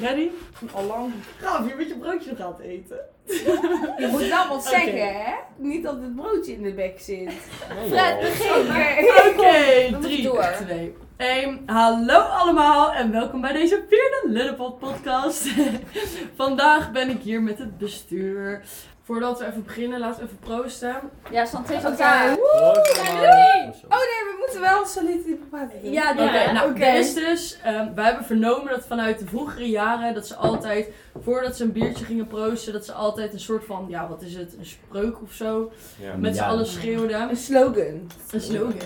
Ready? Allang. Gaaf, je moet je broodje nog aan het eten. Je moet wel wat Oké. zeggen, hè? Niet dat het broodje in de bek zit. Nee, Fred, joh. begin. Oké, dan moet je 3, door. 2, 1. Hallo allemaal en welkom bij deze vierde Lillepot podcast. Vandaag ben ik hier met het bestuur. Voordat we even beginnen, laten we even proosten. Ja, stand tegen elkaar. Proost allemaal. Proost Oh allemaal. nee, we moeten wel solide praten. doen. Ja, Oké, doe maar. nou, oké. er is dus, ehm, wij hebben vernomen dat vanuit de vroegere jaren, dat ze altijd, voordat ze een biertje gingen proosten, dat ze altijd een soort van, ja, wat is het, een spreuk of zo, Ja. met z'n Ja. allen schreeuwden. Een slogan. Een slogan.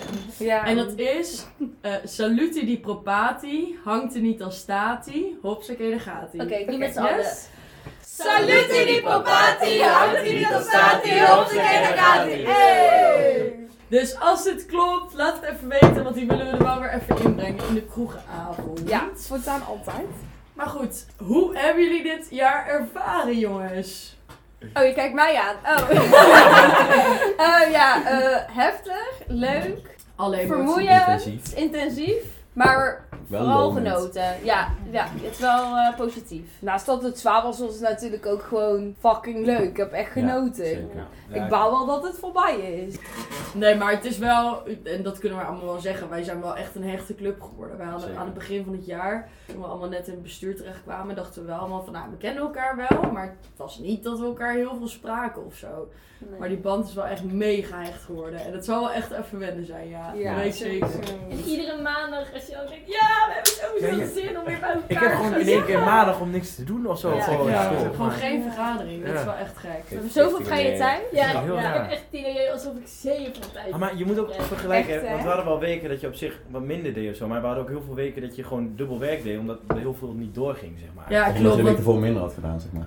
Ja. En dat is, eh saluti di propati, hangt er niet als stati, hopsakee daar gaat ie. Oké, nu met z'n Yes? allen. Saluti di popati, houdt niet op stati, op de kenakati. Hey! Dus als dit klopt, laat het even weten, want die willen we er wel weer even inbrengen in de kroegenavond. Ja, het voortaan altijd. Maar goed, hoe hebben jullie dit jaar ervaren, jongens? Oh, je kijkt mij aan. Oh. Eh, ja, eh, heftig, leuk, Alleen maar vermoeiend, Intensief. intensief, maar Wel vooral lonend. genoten. Ja, ja, het is wel eh, positief. Naast dat het zwaar was, was het natuurlijk ook gewoon fucking leuk. Ik heb echt Ja, genoten. zeker. ik bouw wel dat het voorbij is. Nee, maar het is wel, en dat kunnen we allemaal wel zeggen, wij zijn wel echt een hechte club geworden. Wij hadden Zeker. aan het begin van het jaar, toen we allemaal net in het bestuur terechtkwamen, dachten we wel allemaal van, nou, we kennen elkaar wel, maar het was niet dat we elkaar heel veel spraken of zo. Nee. Maar die band is wel echt mega hecht geworden. En dat zal wel echt even wennen zijn, ja. Ja, dat weet ik zeker. En iedere maandag als je ook denkt, ja, we hebben Ja, sowieso ja. zin om weer bij elkaar Ik heb gewoon in één keer maandag om niks te doen of zo. Ja. gewoon, Ja, Oh, ja, zeg Gewoon maar. geen vergadering, dat is Ja. wel echt gek. We hebben zoveel vrije tijd. Ja, Ja, heel ik raar. heb echt het idee alsof ik zeven tijd Ah, maar je moet ook Ja. vergelijken, Echt, hè? want we hadden wel weken dat je op zich wat minder deed of zo, maar we hadden ook heel veel weken dat je gewoon dubbel werk deed, omdat er heel veel niet doorging, zeg maar. Ja, Of Omdat klopt. ik want- het ervoor minder had gedaan, zeg maar.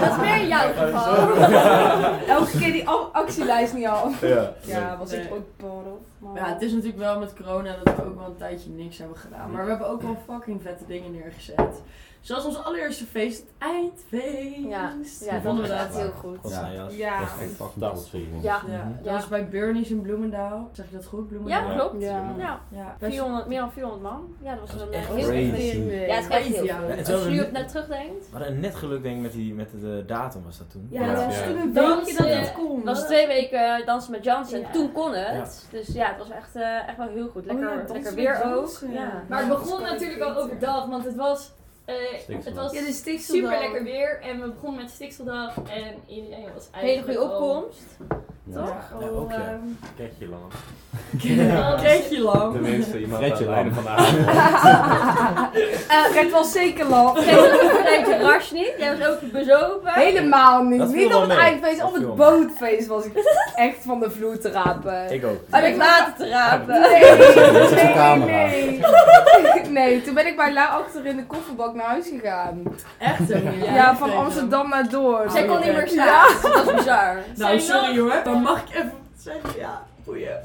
Dat is meer in jouw geval. Elke keer die a- actielijst niet af. Ja. Ja, was ik Nee. ook borrel. Maar... Ja, het is natuurlijk wel met corona dat we ook wel een tijdje niks hebben gedaan. Maar we hebben ook wel fucking vette dingen neergezet. Zoals ons allereerste feest, het eindfeest. Ja, ja, dat dat vonden we was dat. echt heel goed. Ja. ja. Ja. Dat is echt fucking Dat goed. was veel. Ja, Ja, dat Ja. was bij Bernie's in Bloemendaal. Zeg je dat goed, Bloemendaal? ja klopt. Ja. Ja. Ja, best- 400, meer dan 400 man. Ja, dat was Dat een is eh, echt heel crazy. veel. Nee. Ja, het is echt heel Ja, veel. het is wel Als je nu een- op naar terugdenkt, We hadden net geluk denk ik met, die, met de datum was dat toen. Ja, Ja. dat was Ja. toen een Dan, beetje dat eh, het kon. was het twee weken eh, dansen met Jansen Ja. en toen kon het. Dus ja, het was echt, eh, echt wel heel goed. Lekker, Oh ja, dansen lekker met weer ook. Jansen. Ja. Maar het begon natuurlijk al overdag, want het was, het was Ja, de stikstof. super lekker weer. En we begonnen met stikseldag en iedereen was Hele goede opkomst. Ja. Ja, ook ja. Ketje lang. Keetje lang. Tenminste, iemand Fredje aan het einde dan. van de avond. Eh, Fred was zeker laf. Geen ras niet. Jij was ook bezopen. Helemaal niet. Dat viel Niet op wel het mee. eindfeest, Dat op het viel wel bootfeest was ik echt van de vloer te rapen. Ik ook. Oh, Om ik water te rapen. Nee, is een nee, camera. nee, nee. Nee, toen ben ik bij Lau achter in de kofferbak naar huis gegaan. Echt zo. Ja, van Amsterdam naar door. Zij kon niet meer staan. Dat was bizar. Nou, Zij nam- sorry hoor, maar mag ik even wat zeggen? Ja, boeien.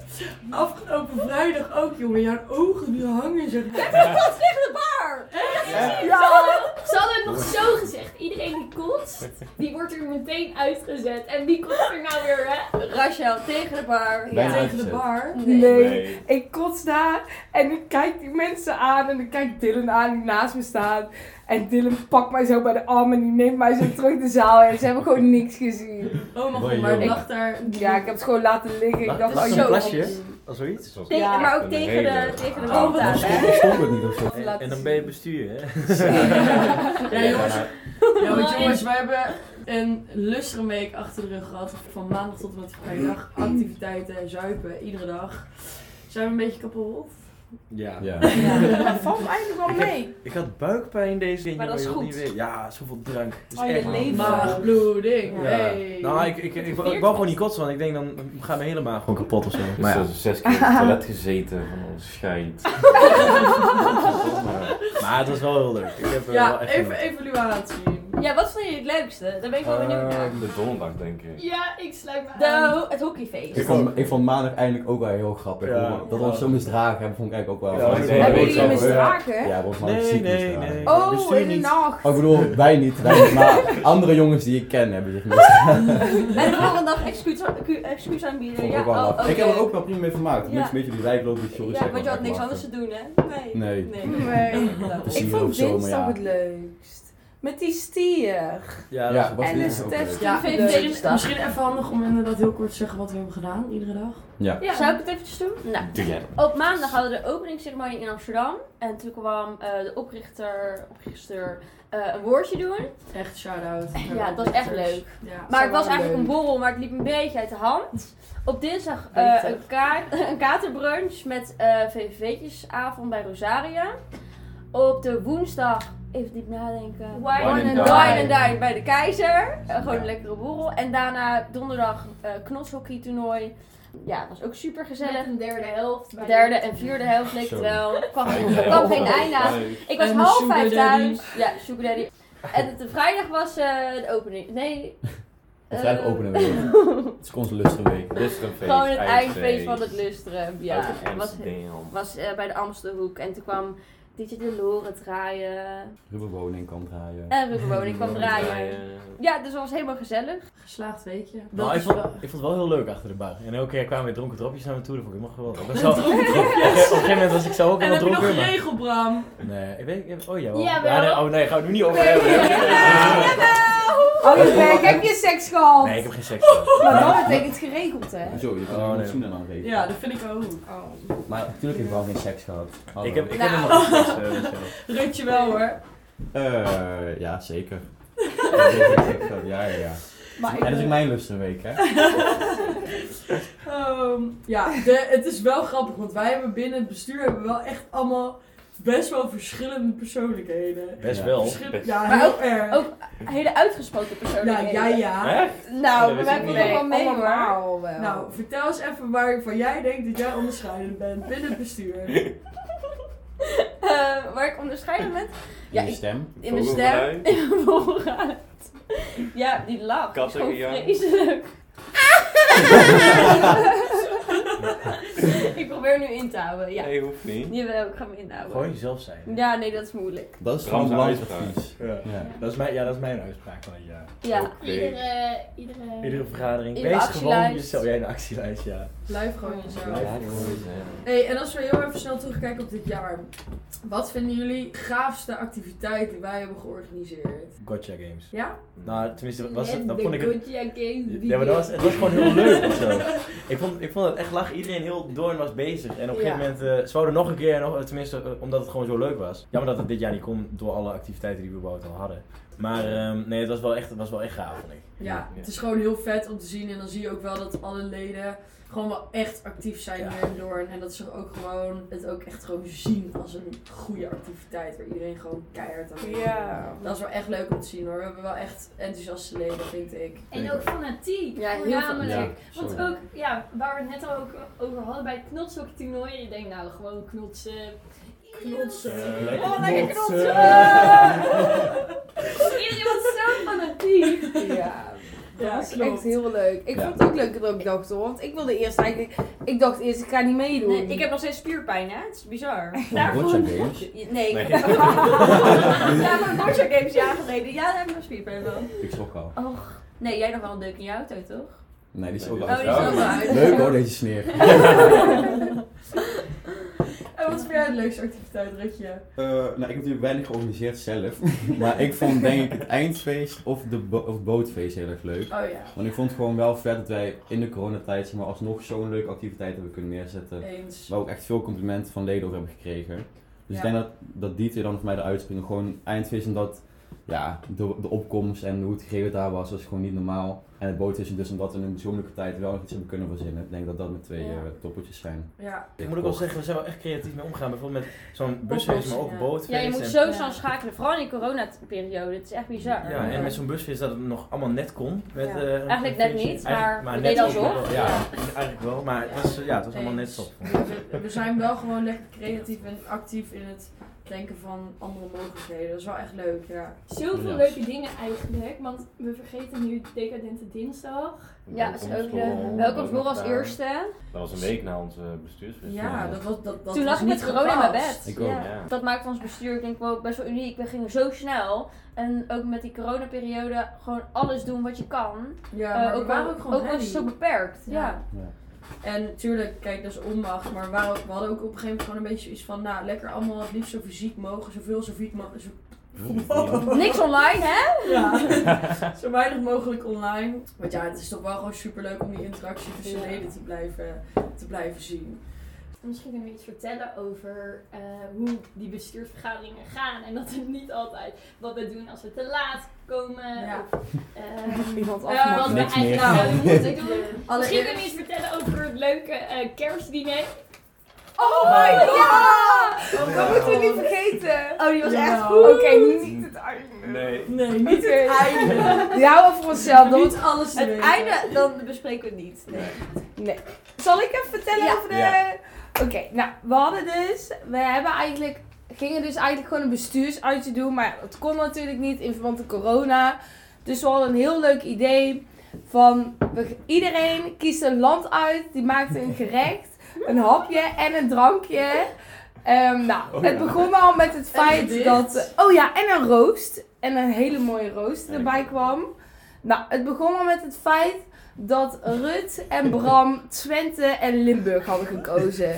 Afgelopen vrijdag ook, jongen. Jouw ogen die hangen, zeg maar. Tegen de bar! Ze, hadden, ze hadden het nog zo gezegd. Iedereen die kotst, die wordt er meteen uitgezet. En wie kotst er nou weer, hè? Rachel tegen de bar. Tegen Bijna de uitgezet. bar. Nee. Nee. Ik kots daar en ik kijk die mensen aan en ik kijk Dylan aan die naast me staat. En Dylan pakt mij zo bij de arm en die neemt mij zo terug de zaal en ze hebben gewoon niks gezien. Oh, mijn Mooi, god, maar ik jongen. lag daar. Ja, ik heb het gewoon laten liggen. Ik Lag- dacht, lag oh, er een zo. plasje? onzin. Of zoiets. Tegen, Ja. Maar ook De tegen de, hele- tegen de Ah, wand aan, Dan hè? stond- stond het niet of zo. En, en dan ben je bestuur, hè? Ja, jongens. Ja, want Maar jongens, wij hebben een lustere week achter de rug gehad. Van maandag tot en met vrijdag. Activiteiten, zuipen, iedere dag. Zijn we een beetje kapot? Ja. Ja. Ja, dat valt eigenlijk wel mee. Ik had buikpijn deze keer, Maar dat is jongen, je goed. wilt niet weten. Ja, zoveel drank. Dat is Oh, je echt- leven. Maagbloeding. Ja. Hey. Nou, ik, ik, ik, ik wou gewoon niet kotsen, want ik denk dan gaat mijn hele maag gewoon kapot of zo. Maar ja. zes keer op het toilet gezeten van ons schijnt. Maar het was wel heel leuk. Ik heb eh, wel Ja, echt even genoten. evaluatie. Ja, wat vond je het leukste? Daar ben ik wel benieuwd Eh, naar. Eh, De donderdag, denk ik. Ja, ik sluit me aan. het hockeyfeest. Ik vond, ik vond maandag eindelijk ook wel heel grappig. Ja. Hoe- Dat we ons zo misdragen hebben, vond ik eigenlijk ook wel. Ja, Ja, nee, Hebben weet jullie je wel, misdragen? Ja, volgens mij Nee, ziek nee, misdragen. nee. Oh, Bestuur in de niet. nacht. Oh, ik bedoel, wij niet, wij niet, maar andere jongens die ik ken hebben zich misdragen. En de volgende dag excuus, cu- excuus aanbieden. Vond ik Ja, ook wel oh, grappig. oké. Ik heb er ook wel prima mee vermaakt. Ja. Niks een beetje die wijkloop die sorry Ja, zeggen, want je had maar niks ik anders lachte. te doen, hè? Nee. Nee. Nee. Nou, Te Ik zien vond of zo, maar dinsdag ja. het leukst. Met die stier. Ja, Ja, was en niet de zo Stef leuk. Ja, die leuk. leuk. misschien, misschien even handig om inderdaad heel kort te zeggen wat we hebben gedaan, iedere dag. Ja. Ja. Zou ik het eventjes doen? Nou, Doe jij dat? op maandag hadden we de openingsceremonie in Amsterdam. En toen kwam eh, de oprichter, oprichter eh, een woordje doen. Echt shout-out. Ja, het was echt leuk. Ja. Maar het wel was eigenlijk leuk. een borrel, maar het liep een beetje uit de hand. Op dinsdag eh, Beter. een, ka- een katerbrunch met eh VVV'tjesavond bij Rosaria. Op de woensdag, even diep nadenken. Wine Wine and and Dine. Dine bij de Keizer. Eh, gewoon Ja. een lekkere borrel. En daarna donderdag eh knotshockey toernooi. Ja, dat was ook super gezellig. een derde helft. bij Derde en vierde helft leek het Zo. wel. Er kwam, Ja. er kwam Oh, geen einde aan. Ik was En de half sugar vijf daddy. thuis. Ja, Sugar Daddy. En het- de vrijdag was eh, de opening. Nee. eh, Vrijdag openen we weer. Het is onze lustenweek. Dus een feest. Gewoon het eindfeest van het lustrum. Ja, Het was, was eh, bij de Amstelhoek. En toen kwam DJ de Loren draaien. Ruben Woning kan draaien. En Ruben Woning kwam draaien. Ja, dus dat was helemaal gezellig. Geslaagd weekje. Nou, ik, is vond, wel- ik vond het wel heel leuk achter de bar. En elke keer kwamen weer dronken dropjes naar me toe. Dat vond ik helemaal geweldig. Ik was zo- op, een gegeven moment was ik zo ook En heb helemaal je nog dronken. een regel, maar- Bram? Nee, ik weet ik- Oh ja, wel. Jawel. Ja, nee, oh nee, gaan we het nu niet over hebben. Oh, je werk, heb je seks gehad? Nou, Nee, ik heb geen seks. gehad. Maar dat betekent geregeld, hè? Zo, je kan Oh, er nee. niet zoenen aan geven. Ja, dat vind ik ook. Oh. Maar natuurlijk heb ik wel geen seks gehad. Hallo. Ik heb, ik Nou. heb helemaal geen seks. eh, Michelle. Rut je wel hoor. Eh, ja, zeker. Ja, zeker, zeker. ja, ja, ja. Maar ik En dat is ook mijn lustenweek, hè? Ehm, ja, de, het is wel grappig, want wij hebben binnen het bestuur hebben we wel echt allemaal best wel verschillende persoonlijkheden. Best Ja. wel. Verschil- ja, Maar heel erg. ook- Hele uitgesproken persoon. ja, ja, ja. Hè? Nou, Dat we wist ik hebben niet. er wel mee, Allemaal hoor. Wel. Nou, vertel eens even waarvan jij denkt dat jij onderscheidend bent binnen het bestuur. Eh, waar ik onderscheiden met? Ja, In je ik- stem. In mijn stem. In mijn voorraad. Ja, die lach. Dat is gewoon Categorie, ja. vreselijk. ik probeer nu in te houden. Ja. Nee, hoeft niet. Jawel, ik ga me inhouden. Gewoon jezelf zijn. Ja, nee, dat is moeilijk. Dat is Bram gewoon zijn belangrijk uitspraak. advies. Ja. Ja. Dat is mijn, ja, dat is mijn uitspraak van het jaar. Ja. Oké. Iedere, iedere... Iedere vergadering. Iedere Wees gewoon actielijst. jezelf. Jij een actielijst, ja. Blijf gewoon jezelf. Ja, die moet je hebben. Hey, en als we heel even snel terugkijken op dit jaar. Wat vinden jullie gaafste activiteit die wij hebben georganiseerd? Gotcha games. Ja? Nou, tenminste, was het, Met dan de vond ik het... Goodyear Games Ja, maar dat was, het was gewoon heel leuk of zo. Ik vond, ik vond het echt lachen. Iedereen heel doorn was bezig. En op een Ja. gegeven moment, eh ze wouden nog een keer, en nog, eh, tenminste eh, omdat het gewoon zo leuk was. Jammer dat het dit jaar niet kon door alle activiteiten die we überhaupt al hadden. Maar ehm, nee, het was wel echt, het was wel echt gaaf, vond ik. Ja, het is gewoon heel vet om te zien. En dan zie je ook wel dat alle leden gewoon wel echt actief zijn Ja. hier in Doorn. En dat ze ook gewoon het ook echt gewoon zien als een goede activiteit. Waar iedereen gewoon keihard aan meedoet. Ja. Dat is wel echt leuk om te zien hoor. We hebben wel echt enthousiaste leden, vind ik. En ook fanatiek. Ja, heel voornamelijk. Ja, Want sorry. ook, ja, waar we het net al ook over hadden bij het knotshockeytoernooi. Je denkt nou gewoon knotsen. Knotsen. Lekker Oh, lekker knotsen. knotsen. Iedereen was zo fanatiek. Ja, Ja, dat was klopt. echt heel leuk. Ik Ja. vond het ook leuk dat ik dacht hoor. Want ik wilde eerst eigenlijk. Ik dacht eerst, ik ga niet meedoen. Nee, ik heb nog steeds spierpijn, hè? Het is bizar. Oh, Gotcha games. Nee. Nee. ja, maar Gotcha Games jaar geleden. Ja, daar heb ik nog spierpijn van. Ik schrok al. Och. Nee, jij nog wel een deuk in je auto, toch? Nee, die is ook Oh, wel Oh, die is uit. ook wel uit. Leuk hoor, deze sneer. En wat vind jij de leukste activiteit, Rutje? Eh, nou, ik heb natuurlijk weinig georganiseerd zelf. Maar ik vond denk ik het eindfeest of, de bo- of bootfeest heel erg leuk. Oh ja, Want ik vond het gewoon wel vet dat wij in de coronatijd zeg maar, alsnog zo'n leuke activiteit hebben kunnen neerzetten. eens. Waar we ook echt veel complimenten van leden over hebben gekregen. Dus ik Ja. denk dat, dat die twee dan voor mij eruit springen. Gewoon eindfeest omdat ja, de, de opkomst en hoe het geregeld daar was, was gewoon niet normaal. En het bootfeest dus omdat we in een zo moeilijke tijd wel nog iets hebben kunnen verzinnen. Ik denk dat dat mijn twee Ja. eh, toppertjes zijn. Ja, Ik moet ook wel zeggen, we zijn wel echt creatief mee omgaan. Bijvoorbeeld met zo'n busfeest, maar ook Oplossingen. bootfeest. Ja, je moet en- sowieso aan schakelen. Vooral in die coronaperiode. Het is echt bizar. Ja, en met zo'n busfeest dat het nog allemaal net kon. Met, Ja. eh, een Eigenlijk net feestje. niet, Eigenlijk- maar we deden net alsof. wel. Ja, eigenlijk wel, maar het was, ja, het was allemaal net Eens. zo. we, we zijn wel gewoon lekker creatief en actief in het denken van andere mogelijkheden. Dat is wel echt leuk, ja. Zoveel Ja. leuke dingen eigenlijk, want we vergeten nu Decadente Dinsdag. Ja, is eh, ook leuk. Welkom voor als eerste. Dat was een week na onze bestuurswisseling. Ja. Ja, dat was dat, dat Toen was lag ik niet met corona in mijn gepast. bed. Ik ook. Ja. Ja. Dat maakte ons bestuur, ik denk wel best wel uniek. We gingen zo snel. En ook met die coronaperiode gewoon alles doen wat je kan. Ja, Eh, maar ook we waren al- ook gewoon ook al is het zo happy. beperkt. Ja. Ja. En natuurlijk, kijk, dat is onmacht. Maar we, waren ook- we hadden ook op een gegeven moment gewoon een beetje iets van, nou, lekker allemaal het liefst zo fysiek mogen, zoveel zo fysiek mo- zo- Niks online, hè? Ja, zo weinig mogelijk online. Want ja, het is toch wel gewoon superleuk om die interactie tussen Ja. leden te blijven, te blijven zien. Misschien kunnen we iets vertellen over eh, hoe die bestuursvergaderingen gaan. En dat het niet altijd wat we doen als we te laat komen. Ja. Of, eh, Iemand Ja, wat afmaken. we Niks eigenlijk meer. Nou. zouden moeten doen. Misschien Allereerst- kunnen we iets vertellen over het leuke eh, kerstdiner. Oh my god! Dat moeten we niet vergeten. Oh, die was Ja. echt goed. Oké, niet het einde. Nee. Nou. Nee, niet Oké. het einde. Ja, houden voor onszelf. Dan Niet alles te Het weten. einde, dan bespreken we het niet. Nee. Zal ik even vertellen Ja. over de... Ja. Oké, nou, we hadden dus... We hebben eigenlijk... Gingen dus eigenlijk gewoon een bestuursuitje doen. Maar dat kon natuurlijk niet in verband met corona. Dus we hadden een heel leuk idee van... we- iedereen kiest een land uit. Die maakt een gerecht, een hapje en een drankje. Ehm, nou, Oh, het ja. begon al met het Een feit gedicht. dat... Oh ja, en een roost. En een hele mooie roost Ja, erbij ik- kwam. Nou, het begon al met het feit dat Rut en Bram Twente en Limburg hadden gekozen.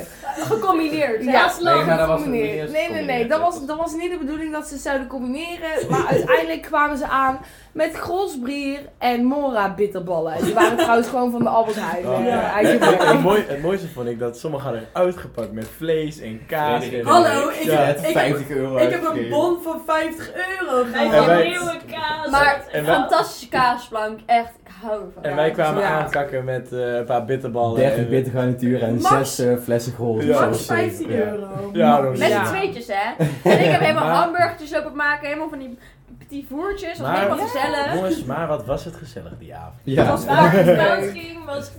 Gecombineerd. hè? Ja. Als land. Nee, maar dat was Meneer, niet eens nee, nee, nee. gecombineerd, Dat dat was, was- dat was niet de bedoeling dat ze het zouden combineren. Maar uiteindelijk kwamen ze aan met Grolsbier en Mora bitterballen. Die waren trouwens gewoon van de Albert Heijn. Oh, eh, ja. uit Limburg. Het, mooi, het mooiste vond ik dat sommigen hadden uitgepakt met vlees en kaas. Nee, en- Hallo, ik, Ja, ik, het heb, 50 euro. ik heb een bon van 50 euro En gehad. wij- Nieuwe kaas. Maar En wij- fantastische kaasplank, echt. Ik hou ervan. En wij kwamen Ja. aankakken met eh, een paar bitterballen. 30 en- bitter garnituur en Max- 6 flessen gold. Ja. Max 15 Ja. euro. Ja, dat was Met Ja. z'n tweetjes, hè? En ik heb helemaal Maar- hamburgers lopen maken, helemaal van die petit voertjes. Dat was Maar- helemaal gezellig. Jongens, maar wat was het gezellig die avond. Ja. was wel- Waar het fout ging was,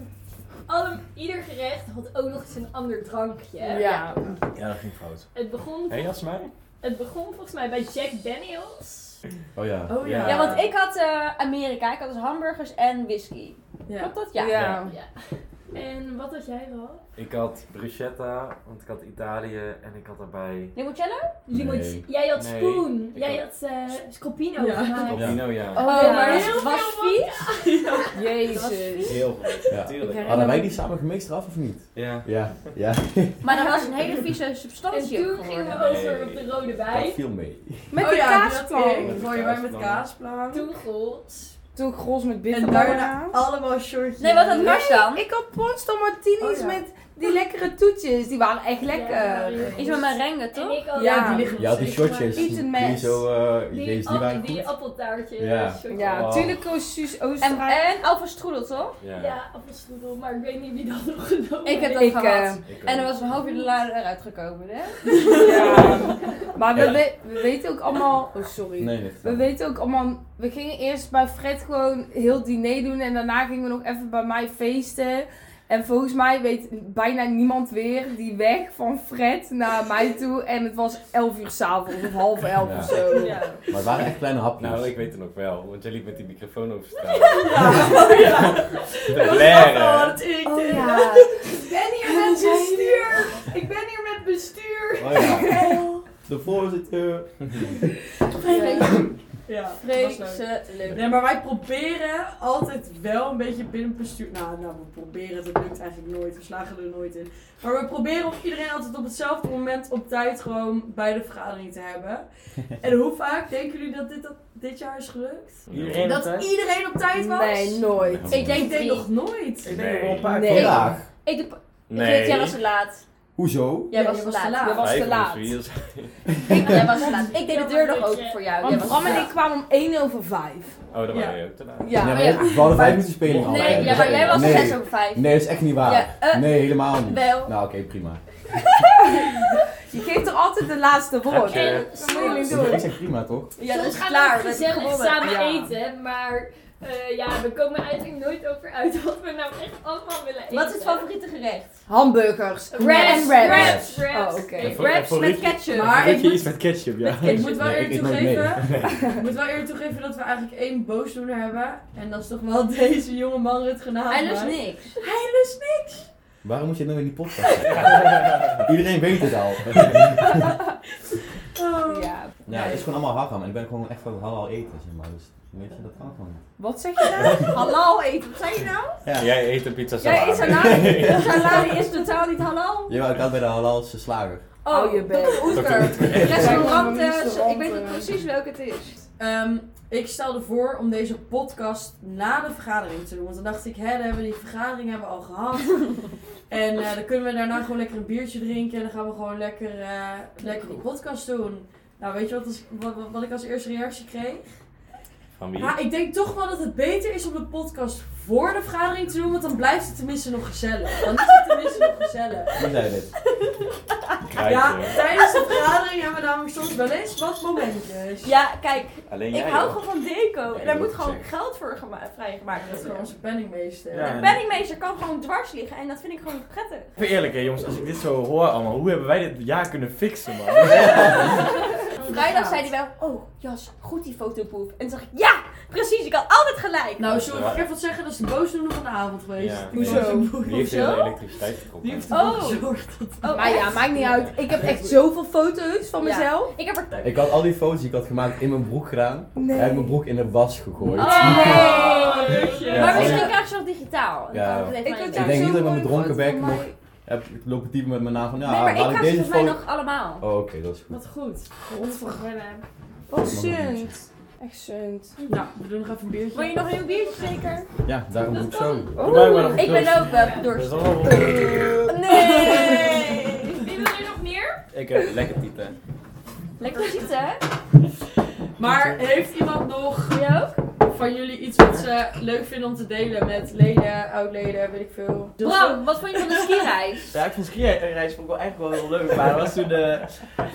alle, ieder gerecht had ook nog eens een ander drankje. Ja. Ja, dat ging fout. Het begon, Hé, Jasmijn? het begon volgens mij bij Jack Daniels. Oh ja. Oh ja. Ja, want ik had eh, Amerika, ik had dus hamburgers en whisky. Ja. Klopt dat? Ja. Ja. ja. Ja. En wat had jij wel? Ik had bruschetta, want ik had Italië en ik had daarbij... Limoncello? Dus Nee. Jij had Nee, Spoon. ik Jij had- had eh Scopino Ja. gemaakt. Albino, ja. Oh, Oh, maar ja. dat was vies. Jezus. Heel goed, Ja. natuurlijk. Ik Hadden wij die samen gemixd af of niet? Ja. Ja. Ja. Maar dat was een hele vieze En substantie. ook toen gingen geworden. we over op de Rode Dat Wei. viel mee. Met oh, de ja, kaasplan. Met de Voor je wij met kaasplan. kaasplan. Toen gold. Toen Grols met En bitterballen daarna aan. allemaal shortjes. Nee, wat had Mars dan? Ik had Ponston martinis Oh, ja. met die lekkere toetjes. Die waren echt Ja, lekker. ja. Iets met merengue, En toch? ik ook. Ja, die liggen Ja, die steeds, maar- shortjes. Iets Die, een die mes. zo, eh Die, deze, die oh, app- waren die goed. appeltaartje. Ja. chocolade. Ja, Oh. tuurlijk ook Suus En, Oostenrijk. en Alfa Stroedel, toch? Ja. Ja, appelstroedel, maar ik weet niet wie dat nog genomen Ik heb heeft. dat Ik, gehad. eh, Ik En er ook. was een half uur later eruit gekomen, hè? Ja. Maar we, we- we weten ook allemaal. Oh, sorry. Nee, nee. We weten ook allemaal. We gingen eerst bij Fred gewoon heel diner doen. En daarna gingen we nog even bij mij feesten. En volgens mij weet bijna niemand weer die weg van Fred naar mij toe. En het was 11 uur s'avonds of half 11 of Ja. zo. Maar het waren echt kleine hapjes. Nou, ik weet het nog wel, want jij liep met die microfoon over straat. Te blaren. ik Oh ja. Ik ben hier met bestuur. Ik ben hier met bestuur. Oh ja. De voorzitter. Ja, dat was leuk. Vreselijk. Nee, maar wij proberen altijd wel een beetje binnen het bestuur. Nou, nou, we proberen het. Dat lukt eigenlijk nooit. We slagen er nooit in. Maar we proberen om iedereen altijd op hetzelfde moment op tijd gewoon bij de vergadering te hebben. En hoe vaak denken jullie dat dit, dat dit jaar is gelukt? Iedereen op Dat tijd? iedereen op tijd was? Nee, nooit. Ik Ik denk denk drie. nog nooit. Ik denk dat we een paar Nee. keer- Vandaag. Ik doe- Nee. Jij was te laat. Hoezo? Jij Ja, was je te laat. was te Vijf laat. of vier, zeg. Jij was te laat. Ik deed de deur nog open voor jou. Jij Want was Bram te en laat. ik kwamen om 1 over 5. Oh, dat Ja. waren je ook te laat. Ja. nee, maar ja. We hadden vijf minuten spelen al. Dus Nee, ja, maar jij was nee. 6 over 5. Nee, dat is echt niet Nou, waar. Ja, eh, nee, helemaal niet. wel. Nou, oké, prima. Je geeft er altijd de laatste woord. Grapje. En Dat moet je niet soms, Ik doen. zeg prima toch? ja, dat soms is gaan klaar, we we ook hebben gezellig gewonnen. samen Ja. eten, maar eh, ja, we komen eigenlijk nooit over uit wat we nou echt allemaal willen eten. Wat is het favoriete gerecht? Hamburgers. Wraps, en wraps. wraps, wraps. Oh, oké. Nee, Voor- Wraps voor met Ricky- ketchup. Maar Weet ik je moet- iets met ketchup, ja. Ik moet wel Nee, eerlijk ik eet nooit mee. toegeven. Ik moet wel eerlijk toegeven dat we eigenlijk één boosdoener hebben. En dat is toch wel deze jonge man Rutger Nagel. Hij lust niks. Hij lust niks. Waarom moet je het nou in die podcast Iedereen weet het al. Oh. Ja. ja, het is gewoon allemaal haram en ik ben gewoon echt van halal eten, zeg maar. Dus weet je, dat kan gewoon niet. Wat zeg je nou? Halal eten, wat zei je nou? Jij eet een pizza Jij salade. is salami. Salami is totaal niet halal. Jawel, ik had bij de halalse slager. Oh, je bent. Dr. Oetker. Restauranten, ik Restauranten. weet niet precies welke het is. Ehm, ik stelde voor om deze podcast na de vergadering te doen. Want dan dacht ik, hè, dan hebben we die vergadering hebben we al gehad. en eh, dan kunnen we daarna gewoon lekker een biertje drinken. En dan gaan we gewoon lekker, eh, lekker die podcast doen. Nou, weet je wat, als- wat, wat, wat ik als eerste reactie kreeg? Van wie? Ja, ik denk toch wel dat het beter is om de podcast voor de vergadering te doen. Want dan blijft het tenminste nog gezellig. Dan is het tenminste nog gezellig. Wie zei dit? Krijt, Ja, hoor. tijdens de vergadering hebben we namelijk soms wel eens wat momentjes. Ja, kijk, Alleen ik jij. hou hoor. gewoon van deco. En daar moet gewoon Zeker. geld voor gema- vrijgemaakt Dat is gewoon worden. onze penningmeester. Ja. De penningmeester kan gewoon dwars liggen en dat vind ik gewoon prettig. Even eerlijk hè jongens, als ik dit zo hoor allemaal, hoe hebben wij dit jaar kunnen fixen man? Vrijdag zei hij wel, oh Jas, goed die fotopoep. En toen dacht ik, ja, precies, ik had altijd gelijk. Nou, zullen we even wat zeggen? Dat is de boosdoener van de avond geweest. Ja. Hoezo? Die heeft heel de elektriciteit getrokken. Die heeft ervoor Oh. gezorgd dat... Oh, Maar ja, echt? maakt niet uit. Ik heb echt zoveel foto's van Ja. mezelf. Ik heb er... Ik had al die foto's die ik had gemaakt in mijn broek gedaan. Nee. Hij heeft mijn broek in de was gegooid. Oh, Ja, maar als misschien je- krijg je nog digitaal. Dan Ja. kan het even Ik, aan je had denk jou denken. niet zo'n dat ik met mooie mijn dronken foto bek van nog- mij- Heb ik lopen diepen met mijn naam van, ja, Nee, maar ik laat ik, krijg ze deze volgens mij foto... nog allemaal. Oh, oké, dat is goed. Wat goed. Godverdomme. Wat sunt. Echt sunt. Nou, we doen nog even een biertje. Wil je nog een nieuw biertje zeker? Ja, daarom doe ik zo. Oeh, Ik ben ook eh, Dat is dorst. allemaal Nee! Wie wil er nog meer? Ik heb lekker type. Lekker zitten, hè? Maar heeft iemand nog Jij ook? van jullie iets wat ze leuk vinden om te delen met leden, oud-leden, weet ik veel? Dus Bram, wat vond je van de skireis? Ja, ik vond skireis vond ik wel eigenlijk wel heel leuk, maar dat was toen... eh,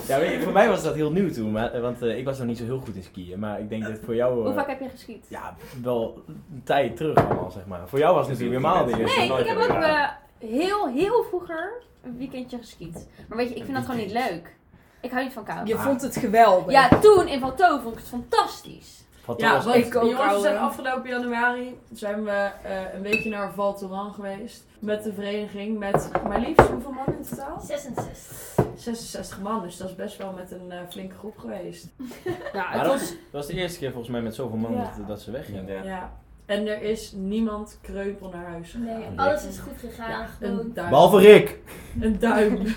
ja, weet je, voor mij was dat heel nieuw toen, maar, want eh, ik was nog niet zo heel goed in skiën, maar ik denk dat voor jou... eh, Hoe vaak heb je geschiet? Ja, wel een tijd terug allemaal, zeg maar. Voor jou was het natuurlijk helemaal de eerste. Nee, ik nooit heb ook hebben eh, heel, heel vroeger een weekendje geskiet. Maar weet je, ik vind dat gewoon niet leuk. Ik hou niet van koud. Je vond het geweldig. Ja, toen in Valto vond ik het fantastisch. Wat Ja, was want echt- jongens, we ouwe. zijn afgelopen januari zijn we eh, een weekje naar Val Thorens geweest. Met de vereniging, met maar liefst hoeveel man in totaal? 66. 66 man, dus dat is best wel met een eh, flinke groep geweest. Nou, Maar het dat, was... was, dat was de eerste keer volgens mij met zoveel mannen Ja. dat, dat ze weggingen. Ja. En er is niemand kreupel naar huis gegaan. Nee, alles is goed gegaan. Een gewoon duim. Behalve Rick! Een duim. een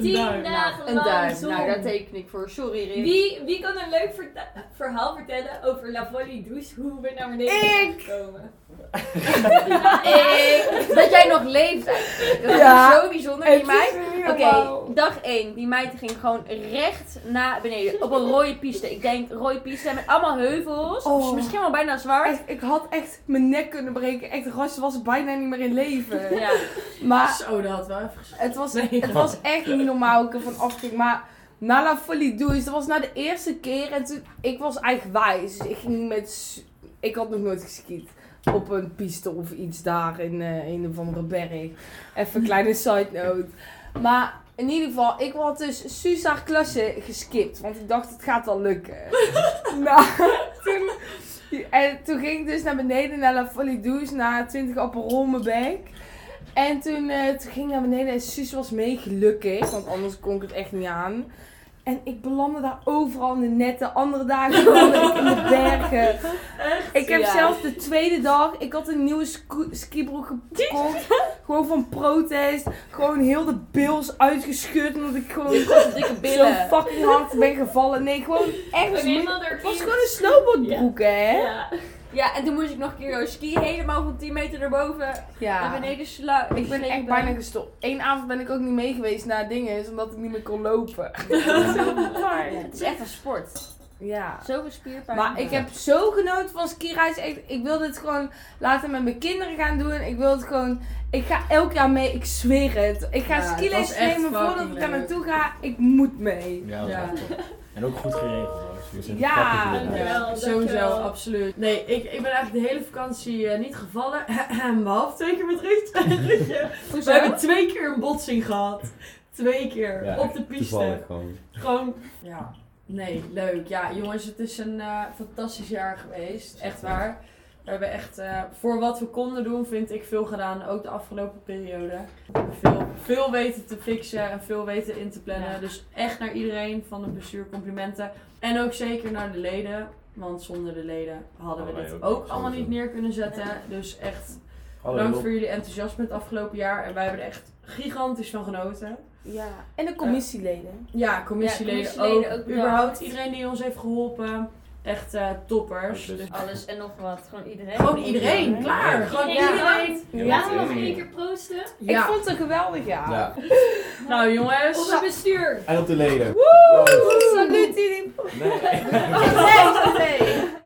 tien duim. dagen Een lang duim. zon. Nou, daar teken ik voor. Sorry, Rick. Wie, wie kan een leuk verta- verhaal vertellen over La Volie Douce, hoe we naar beneden zijn gekomen? Ik. Dat jij nog leeft. eigenlijk. Dat Ja. is zo bijzonder. Die meid. Oké. Oké, dag 1. Die meid ging gewoon recht naar beneden. Op een rode piste. Ik denk rode piste met allemaal heuvels. Oh. Dus misschien wel bijna zwart. Echt, ik had echt mijn nek kunnen breken. Echt, Ras was bijna niet meer in leven. Ja. Maar Nou, Zo, dat had wel even gezegd. het was, Nee. het was echt niet normaal hoe ik ervan afging. Maar na La Folie Douce, dat was na de eerste keer. En toen, ik was eigenwijs. Dus ik ging met... s- Ik had nog nooit geskiet. Op een piste of iets daar in eh, een of andere berg. Even een kleine side note. Maar in ieder geval, ik had dus Suus haar klasse geskipt. Want ik dacht, het gaat wel lukken. nou, toen, en toen ging ik dus naar beneden naar La Folie Douce. Naar 20 Aperol mijn bek. En toen, eh, toen ging ik naar beneden en Suus was mee gelukkig, want anders kon ik het echt niet aan. En ik belandde daar overal in de netten. Andere dagen belandde ik in de bergen. Ik heb Ja. zelfs de tweede dag, ik had een nieuwe sco- skibroek gekocht. gewoon van protest. Gewoon heel de bils uitgeschud omdat ik gewoon Dikke zo billen. fucking hard ben gevallen. Nee, gewoon echt. We nemen al er Het was gewoon een snowboardbroek, hè? Ja. Ja, en toen moest ik nog een keer zo ski helemaal van 10 meter naar boven. Naar Ja. beneden sla. Ik ben echt bijna gestopt. Eén avond ben ik ook niet mee geweest naar dingen, is omdat ik niet meer kon lopen. Het is echt een sport. Ja. Zoveel spierpijn. Maar ik heb zo genoten van skireis. Ik, ik wil dit gewoon laten met mijn kinderen gaan doen. Ik wil het gewoon... Ik ga elk jaar mee. Ik zweer het. Ik ga Ja, het skiles was echt nemen voordat fucking ik daar leuk. naartoe ga. Ik moet mee. Ja, dat is Ja, echt top. En ook goed geregeld hoor. Dus jullie zijn Ja, fucking goed gedaan. dankjewel, ja, dankjewel. sowieso, absoluut. Nee, ik, ik ben eigenlijk de hele vakantie eh, niet gevallen. Behalve twee keer met Ruud. Ruudje. Hoezo? We hebben twee keer een botsing gehad. Twee keer Ja, op de piste. Toevallig gewoon. Gewoon. Ja. Nee, leuk. Ja, jongens, het is een eh, fantastisch jaar geweest. Echt waar. We hebben echt eh, voor wat we konden doen, vind ik veel gedaan. Ook de afgelopen periode. We hebben Veel, veel weten te fixen en veel weten in te plannen. Ja. Dus echt naar iedereen van het bestuur complimenten. En ook zeker naar de leden. Want zonder de leden hadden we Hadden wij dit ook ook niet allemaal zoveel. niet neer kunnen zetten. Dus echt Alle bedankt hulp. voor jullie enthousiasme het afgelopen jaar. En wij hebben er echt gigantisch van genoten. Ja. En de commissieleden. Ja, commissieleden, Ja, ook. commissieleden ook bedankt. Überhaupt iedereen die ons heeft geholpen. Echt eh, toppers. Dus- Dus Alles en nog wat. Gewoon iedereen. gewoon iedereen, Ja. klaar. Ja. Gewoon Ja. iedereen. Ja, Laten we nog één keer proosten Ik Ja. vond het een geweldig jaar. Ja. Nou op jongens. het bestuur. En op de leden. Salut jullie. Nee. Echt, echt.